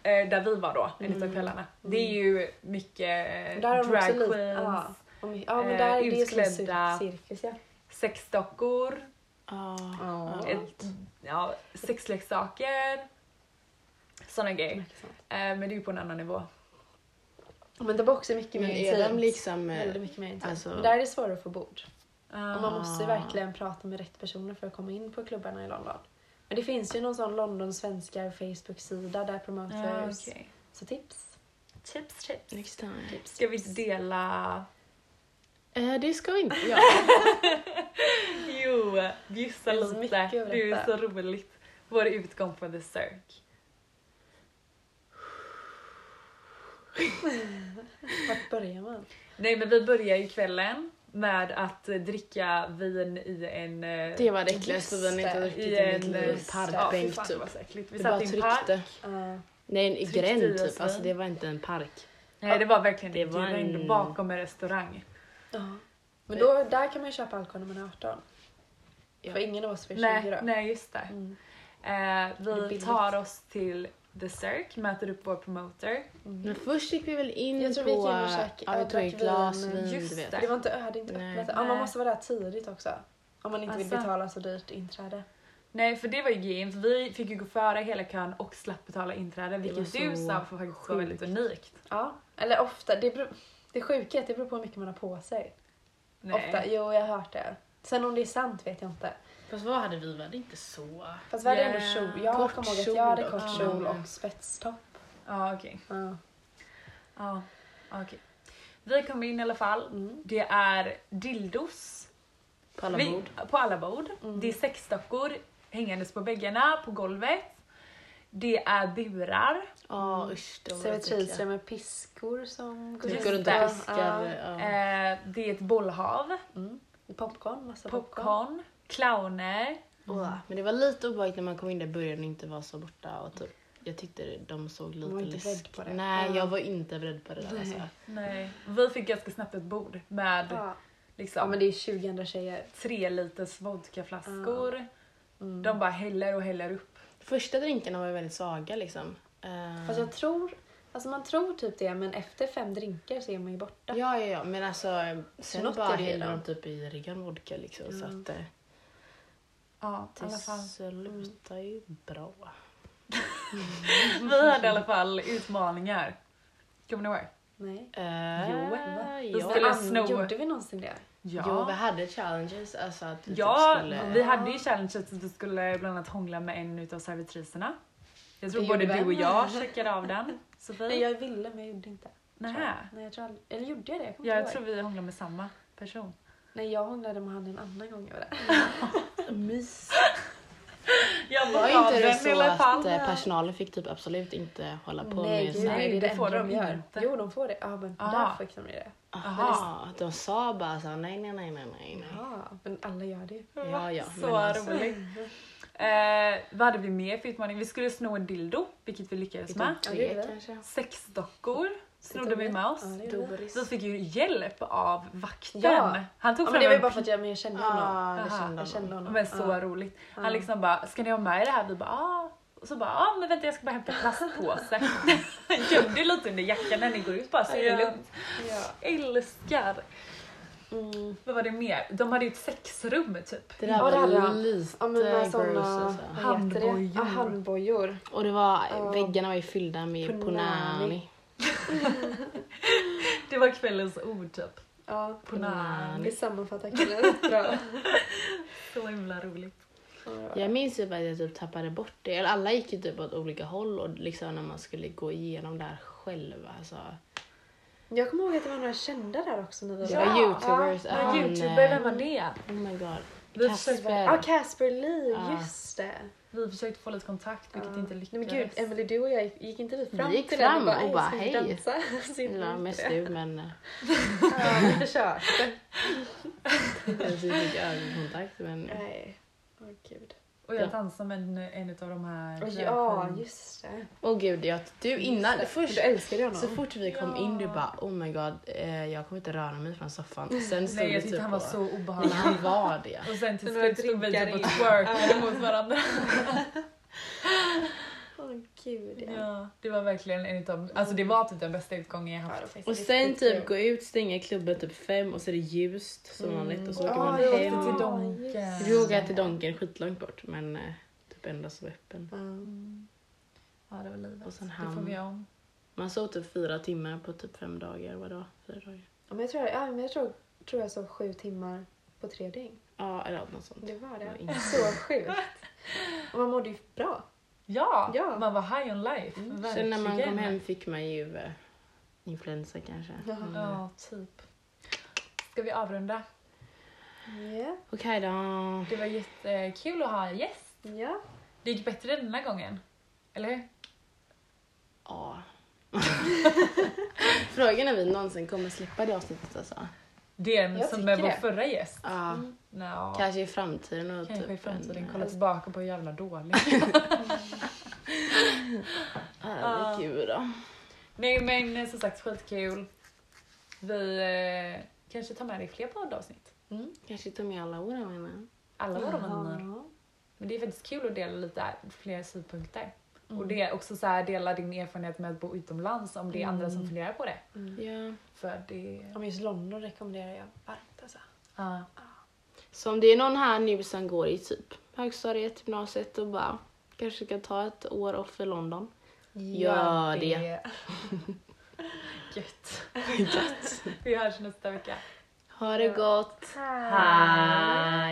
Speaker 3: eh, där vi var då, en utav kvällarna. Det är ju mycket eh,
Speaker 2: Mm. Där har de också
Speaker 3: drag
Speaker 2: lite-
Speaker 3: queens,
Speaker 2: ja. Och my- Ja, men
Speaker 3: eh,
Speaker 2: där är det ju som en
Speaker 3: utklädda.
Speaker 2: cir- cirkus ja.
Speaker 3: sexdockor,
Speaker 1: Ja.
Speaker 2: Ja.
Speaker 1: Ja.
Speaker 3: ett, ja, sexleksaker. Såna grejer. Eh, men det är ju på en annan nivå.
Speaker 2: Men det var också mycket mer
Speaker 1: Men är de
Speaker 2: intimt.
Speaker 1: liksom... eh,
Speaker 2: Väldigt mycket mer intimt.
Speaker 1: alltså-
Speaker 2: Men Där är det svårare att få bord.
Speaker 3: Eh,
Speaker 2: Och man måste ju verkligen prata med rätt personer för att komma in på klubbarna i London. Men det finns ju någon sån London svenskar Facebook-sida där
Speaker 3: ja,
Speaker 2: promoters.
Speaker 3: Ah. okej.
Speaker 2: Så tips.
Speaker 3: Tips, tips.
Speaker 1: Next time. typ?
Speaker 3: Ska vi dela...
Speaker 1: Eh, det ska vi inte göra.
Speaker 3: <laughs> Jo, bjussa
Speaker 2: Det är så mycket
Speaker 3: lite.
Speaker 2: att
Speaker 3: Det är
Speaker 2: berätta.
Speaker 3: så roligt. Vår utgång på The Cirque.
Speaker 2: Vart börjar man?
Speaker 3: Nej men vi börjar ju kvällen med att eh, dricka vin i en... eh,
Speaker 1: Det var det äckligaste vi inte har druckit
Speaker 3: i
Speaker 1: i mitt
Speaker 3: en eh,
Speaker 1: liv.
Speaker 3: Ja, fy
Speaker 1: Parkbänk
Speaker 3: fan, det var
Speaker 1: typ.
Speaker 3: så äckligt. Vi
Speaker 1: Det
Speaker 3: satt
Speaker 1: bara
Speaker 3: i en park.
Speaker 1: tryckte.
Speaker 2: Ja.
Speaker 1: Nej, en
Speaker 3: Tryckte i
Speaker 1: gränd
Speaker 3: oss
Speaker 1: typ. Alltså
Speaker 3: vin.
Speaker 1: det var inte en park.
Speaker 3: Nej det var verkligen
Speaker 1: Det
Speaker 3: det var,
Speaker 1: var
Speaker 3: det var ändå
Speaker 1: en-
Speaker 3: bakom en restaurang.
Speaker 2: Ja.
Speaker 3: Eh.
Speaker 2: Men då, där kan man ju köpa alkohol när man är 18.
Speaker 1: Ja.
Speaker 2: För ingen av oss var 20
Speaker 3: Nej,
Speaker 2: då.
Speaker 3: nej just det.
Speaker 2: Mm.
Speaker 3: Eh,
Speaker 2: Det är
Speaker 3: vi
Speaker 2: billigt.
Speaker 3: tar oss till The Cirque, möter upp vår promoter.
Speaker 2: mm.
Speaker 1: Men först gick vi väl in
Speaker 2: Jag tror
Speaker 1: på...
Speaker 2: vi gick in och käk-
Speaker 1: ja, vi
Speaker 2: ja,
Speaker 1: tog
Speaker 2: drack
Speaker 1: ett glas
Speaker 2: vin.
Speaker 1: vin,
Speaker 3: Just
Speaker 1: du vet.
Speaker 3: det.
Speaker 2: Det var inte, jag hade inte
Speaker 1: Nej.
Speaker 2: öppnat. Ja, man
Speaker 3: Nej.
Speaker 2: måste vara där tidigt också. Om man inte
Speaker 3: Alltså.
Speaker 2: vill betala så dyrt inträde.
Speaker 3: Nej för det var ju grejen, för vi fick ju gå före hela kön och slapp betala inträde vilket
Speaker 1: var
Speaker 3: du
Speaker 1: så
Speaker 3: sa för faktiskt var väldigt unikt.
Speaker 2: Ja, eller ofta. Det, beror, det sjuka är att det beror på hur mycket man har på sig.
Speaker 3: Nej.
Speaker 2: Ofta. Jo, jag har hört det. Sen om det är sant vet jag inte.
Speaker 1: Fast vad hade vi? Vi hade inte så...
Speaker 2: Fast vi hade
Speaker 3: Ja.
Speaker 2: ändå kjol. Jag
Speaker 1: Kort
Speaker 2: kommer ihåg att
Speaker 1: kjol
Speaker 2: jag hade
Speaker 1: också.
Speaker 2: kort kjol
Speaker 1: Ja.
Speaker 2: och spetstopp.
Speaker 3: Ja okej.
Speaker 2: Ja.
Speaker 3: Ja, okej. Vi kommer in i alla fall.
Speaker 2: Mm.
Speaker 3: Det är dildos
Speaker 1: På alla
Speaker 3: Vi-
Speaker 1: bord.
Speaker 3: På alla bord.
Speaker 2: Mm.
Speaker 3: Det är sexdockor hängandes på väggarna, på golvet. Det är burar.
Speaker 1: Ja usch. de var
Speaker 2: Servitriser
Speaker 1: äckliga.
Speaker 2: med piskor som
Speaker 1: Typ
Speaker 3: Just
Speaker 1: går runt och
Speaker 3: det.
Speaker 1: piskar.
Speaker 2: Ja.
Speaker 1: Ja.
Speaker 3: Eh, det är ett bollhav.
Speaker 2: Popcorn, massa popcorn.
Speaker 3: Popcorn. Clowner.
Speaker 1: Åh, Men det var lite obehagligt när man kom in där i början och inte var så borta. Och typ, jag tyckte de såg
Speaker 2: Man var
Speaker 1: lite
Speaker 2: inte beredd på
Speaker 1: läskiga
Speaker 2: det.
Speaker 1: Nej,
Speaker 2: Ja.
Speaker 1: jag var inte beredd på det där. Alltså.
Speaker 3: Nej. Vi fick ganska snabbt ett bord med
Speaker 2: Ja.
Speaker 3: liksom,
Speaker 2: ja, men det är 20 andra tjejer.
Speaker 3: tre liters vodkaflaskor. De bara häller och häller upp.
Speaker 1: Första drinkarna var ju väldigt svaga liksom. Eh,
Speaker 2: Fast jag tror, alltså man tror typ det, men efter fem drinkar så är man ju borta.
Speaker 1: Ja, ja, ja, men alltså eh, sen
Speaker 2: Snott
Speaker 1: bara
Speaker 2: är det ju
Speaker 1: hällde
Speaker 2: då.
Speaker 1: de typ i riggan vodka liksom så
Speaker 2: Mm.
Speaker 1: att eh,
Speaker 3: Ja, i
Speaker 1: det <laughs>
Speaker 3: alla fall.
Speaker 1: slutar ju bra.
Speaker 3: Vi hade i alla fall utmaningar. Kommer ni ihåg?
Speaker 2: Nej.
Speaker 1: Eh,
Speaker 3: Jo,
Speaker 1: ja.
Speaker 3: vi
Speaker 1: Jo,
Speaker 3: skulle
Speaker 2: An-
Speaker 3: sno-
Speaker 2: Gjorde vi någonsin det?
Speaker 3: Ja.
Speaker 1: vi hade challenges alltså att vi
Speaker 3: Ja,
Speaker 1: typ skulle...
Speaker 3: vi hade ju challenget att vi skulle bland annat hångla med en utav servitriserna. Jag tror
Speaker 2: Det
Speaker 3: både
Speaker 2: gjorde
Speaker 3: du
Speaker 2: vi.
Speaker 3: och jag checkade
Speaker 2: <laughs>
Speaker 3: av den. Sofie?
Speaker 2: Nej, jag ville men jag gjorde inte.
Speaker 3: Nähä.
Speaker 2: Nej, jag tror aldrig, eller gjorde jag det? Jag kommer
Speaker 3: Ja,
Speaker 2: inte
Speaker 3: jag
Speaker 2: ihåg.
Speaker 3: tror vi hånglade med samma person.
Speaker 2: Nej, jag hånglade med han en annan gång jag var där.
Speaker 1: mys.
Speaker 3: Jag
Speaker 1: Var
Speaker 3: av
Speaker 1: inte det
Speaker 3: den i
Speaker 1: så
Speaker 3: alla fall.
Speaker 1: att eh, personalen fick typ absolut inte hålla på med
Speaker 2: gud,
Speaker 1: så här-
Speaker 3: nej. det
Speaker 2: enda
Speaker 3: får de
Speaker 2: gör.
Speaker 3: inte. Ah.
Speaker 2: Jo, de får det. Ja, men
Speaker 3: Aha.
Speaker 2: där fick de det.
Speaker 1: Aha, att Ah, de sa bara så här, nej, nej, nej, nej, nej. nej.
Speaker 2: Ja, men alla gör det ju.
Speaker 1: Ja, ja, men
Speaker 3: så
Speaker 1: alltså-
Speaker 3: roligt. Eh, vad hade vi mer för utmaning? Vi skulle sno en dildo, vilket vi lyckades
Speaker 1: Vi tog
Speaker 3: med.
Speaker 2: Ja,
Speaker 1: tre
Speaker 2: det är det.
Speaker 1: kanske.
Speaker 3: Sexdockor snodde vi med oss.
Speaker 2: Ja, det gjorde vi.
Speaker 1: Doris.
Speaker 3: Vi fick ju hjälp av vakten.
Speaker 2: Ja.
Speaker 3: Han tog
Speaker 2: Ja,
Speaker 3: fram
Speaker 2: men det var ju
Speaker 3: en
Speaker 2: bara för att jag mer kände honom.
Speaker 1: Ja, det
Speaker 3: Aha,
Speaker 1: kände
Speaker 2: Jag kände
Speaker 1: honom.
Speaker 2: honom.
Speaker 3: Men så
Speaker 2: Ja.
Speaker 3: roligt. Han liksom bara, ska ni ha med er det här? Vi bara, ah. Och så bara, ah, men vänta jag ska bara hämta en
Speaker 2: <laughs>
Speaker 3: plastpåse. Han gömde lite under jackan när ni går ut bara så är det
Speaker 2: Ja.
Speaker 3: lugnt.
Speaker 2: Ja.
Speaker 3: Älskar!
Speaker 2: Mm.
Speaker 3: Vad var det mer? De hade ju ett sexrum typ.
Speaker 1: Det där
Speaker 2: Ja, det hade
Speaker 1: var
Speaker 2: han.
Speaker 1: lite
Speaker 2: Ja, men med
Speaker 1: gross
Speaker 2: sådana...
Speaker 1: alltså.
Speaker 2: vad heter det?
Speaker 3: Handbojor.
Speaker 2: Ja, handbojor.
Speaker 1: Och det var,
Speaker 2: Ja.
Speaker 1: väggarna var ju fyllda med punani.
Speaker 2: Punani.
Speaker 3: Det var kvällens ord typ.
Speaker 2: Ja.
Speaker 3: Punani.
Speaker 2: Det sammanfattar killen rätt <laughs> bra.
Speaker 3: Så himla roligt.
Speaker 1: Jag minns ju bara att jag typ tappade bort det. Eller alla gick ju typ åt olika håll och liksom när man skulle gå igenom det här själv. Alltså.
Speaker 2: Jag kommer ihåg att det var några kända där också. När vi
Speaker 1: Det
Speaker 2: var
Speaker 1: var youtubers.
Speaker 2: Ja,
Speaker 3: Men
Speaker 1: han,
Speaker 3: youtuber,
Speaker 1: eh,
Speaker 3: vem var det?
Speaker 1: Oh my god.
Speaker 3: Vi
Speaker 1: Kasper.
Speaker 3: försökte-
Speaker 2: Ja, Casper Lee,
Speaker 1: Ja.
Speaker 2: just det.
Speaker 3: Vi försökte få lite kontakt vilket
Speaker 2: Ja.
Speaker 3: inte
Speaker 2: Nej,
Speaker 3: lyckades.
Speaker 2: men gud, Emily, du och jag gick, gick inte vi fram
Speaker 1: Vi gick
Speaker 2: till den
Speaker 1: fram och bara,
Speaker 2: ska vi
Speaker 1: hej.
Speaker 2: dansa? <laughs> Så gjorde vi
Speaker 1: Ja,
Speaker 2: inte
Speaker 1: mest
Speaker 2: det.
Speaker 1: du men eh,
Speaker 2: Ja, vi försökte.
Speaker 1: jag fick ögonkontakt. Men
Speaker 2: Nej, åh gud.
Speaker 3: Och jag dansade med en, en av de här eh,
Speaker 2: Och
Speaker 3: drag
Speaker 2: ja,
Speaker 3: queen-
Speaker 2: just det.
Speaker 1: åh gud, jag, du innan, först,
Speaker 2: Du älskade ju honom.
Speaker 1: så fort vi kom in du bara oh my god, eh, jag kommer inte röra mig från soffan. Sen stod
Speaker 3: Nej
Speaker 1: vi
Speaker 3: jag tyckte
Speaker 1: typ
Speaker 3: han var
Speaker 1: och-
Speaker 3: så obehaglig.
Speaker 1: Men han var det.
Speaker 3: typ Och sen till
Speaker 2: Men några
Speaker 3: slut stod vi
Speaker 2: drinkar
Speaker 3: typ och
Speaker 2: in.
Speaker 3: twerkade mot varandra.
Speaker 2: Åh gud ja.
Speaker 3: Ja, det var verkligen en
Speaker 1: Mm.
Speaker 3: utav, alltså det var typ den bästa utgången jag
Speaker 2: Ja, det
Speaker 3: haft.
Speaker 2: var faktiskt
Speaker 1: Och sen
Speaker 2: riktigt
Speaker 1: typ
Speaker 2: kul.
Speaker 1: gå ut, stänga klubben typ fem och så är det ljust som
Speaker 3: Mm.
Speaker 1: vanligt och så
Speaker 3: Ja,
Speaker 1: åker
Speaker 2: Ah,
Speaker 1: man
Speaker 2: jag åkte
Speaker 1: hem.
Speaker 2: till
Speaker 1: Till...
Speaker 2: Dom-
Speaker 1: Vi åker till Donken skitlångt bort men eh, typ enda som är öppen.
Speaker 2: Mm.
Speaker 3: Ja, det var livet.
Speaker 1: Och sen
Speaker 3: Det får
Speaker 1: hamn.
Speaker 3: vi göra om.
Speaker 1: Man sov typ fyra timmar på typ fem dagar. Vadå? Fyra dagar?
Speaker 2: Ja, men jag tror, ja, men jag tror, tror jag sov sju timmar på tre dygn.
Speaker 1: Ja, eller något sånt.
Speaker 2: Det var
Speaker 1: Det var
Speaker 2: det.
Speaker 1: inget.
Speaker 2: Så sjukt. Och man mådde ju bra.
Speaker 3: Ja,
Speaker 2: Ja.
Speaker 3: man var high on life.
Speaker 1: Mm. Sen
Speaker 3: Verkligen.
Speaker 1: när man kom hem fick man ju eh, influensa kanske.
Speaker 2: Ja.
Speaker 1: Mm.
Speaker 3: Ja, typ. Ska vi avrunda?
Speaker 2: Ja.
Speaker 1: Okej då.
Speaker 3: Det var jättekul att ha en gäst.
Speaker 2: Ja.
Speaker 3: Det gick bättre den här gången. Eller hur?
Speaker 1: Ja. <laughs> Frågan är vi någonsin kommer släppa det avsnittet alltså.
Speaker 3: Det är
Speaker 2: Jag
Speaker 3: som med
Speaker 2: tycker
Speaker 3: vår
Speaker 2: det.
Speaker 3: förra gäst.
Speaker 1: Ja,
Speaker 3: Nå,
Speaker 1: kanske i framtiden. Och
Speaker 3: kanske
Speaker 1: typ
Speaker 3: i framtiden
Speaker 1: en,
Speaker 3: kolla tillbaka på hur
Speaker 1: <laughs>
Speaker 3: jävla dålig.
Speaker 1: Herregud då.
Speaker 3: Nej men eh, som sagt skitkul. Vi eh, kanske tar med dig fler poddavsnitt.
Speaker 1: Kanske ta med alla våra vänner.
Speaker 3: Alla våra vänner.
Speaker 2: Ja.
Speaker 3: Men det är faktiskt kul att dela lite fler synpunkter. Och det är också så här, dela din erfarenhet med att bo utomlands om det är andra som funderar på det.
Speaker 1: Ja.
Speaker 3: För det...
Speaker 2: Ja, men just London rekommenderar jag varmt alltså.
Speaker 3: Ja.
Speaker 1: Så om det är någon här nu som går i typ högstadiet, gymnasiet och bara kanske kan ta ett år off i London. Gör det.
Speaker 3: <laughs> Gött. <laughs> Vi hörs nästa vecka.
Speaker 1: Ha det gott!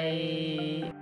Speaker 3: Hej!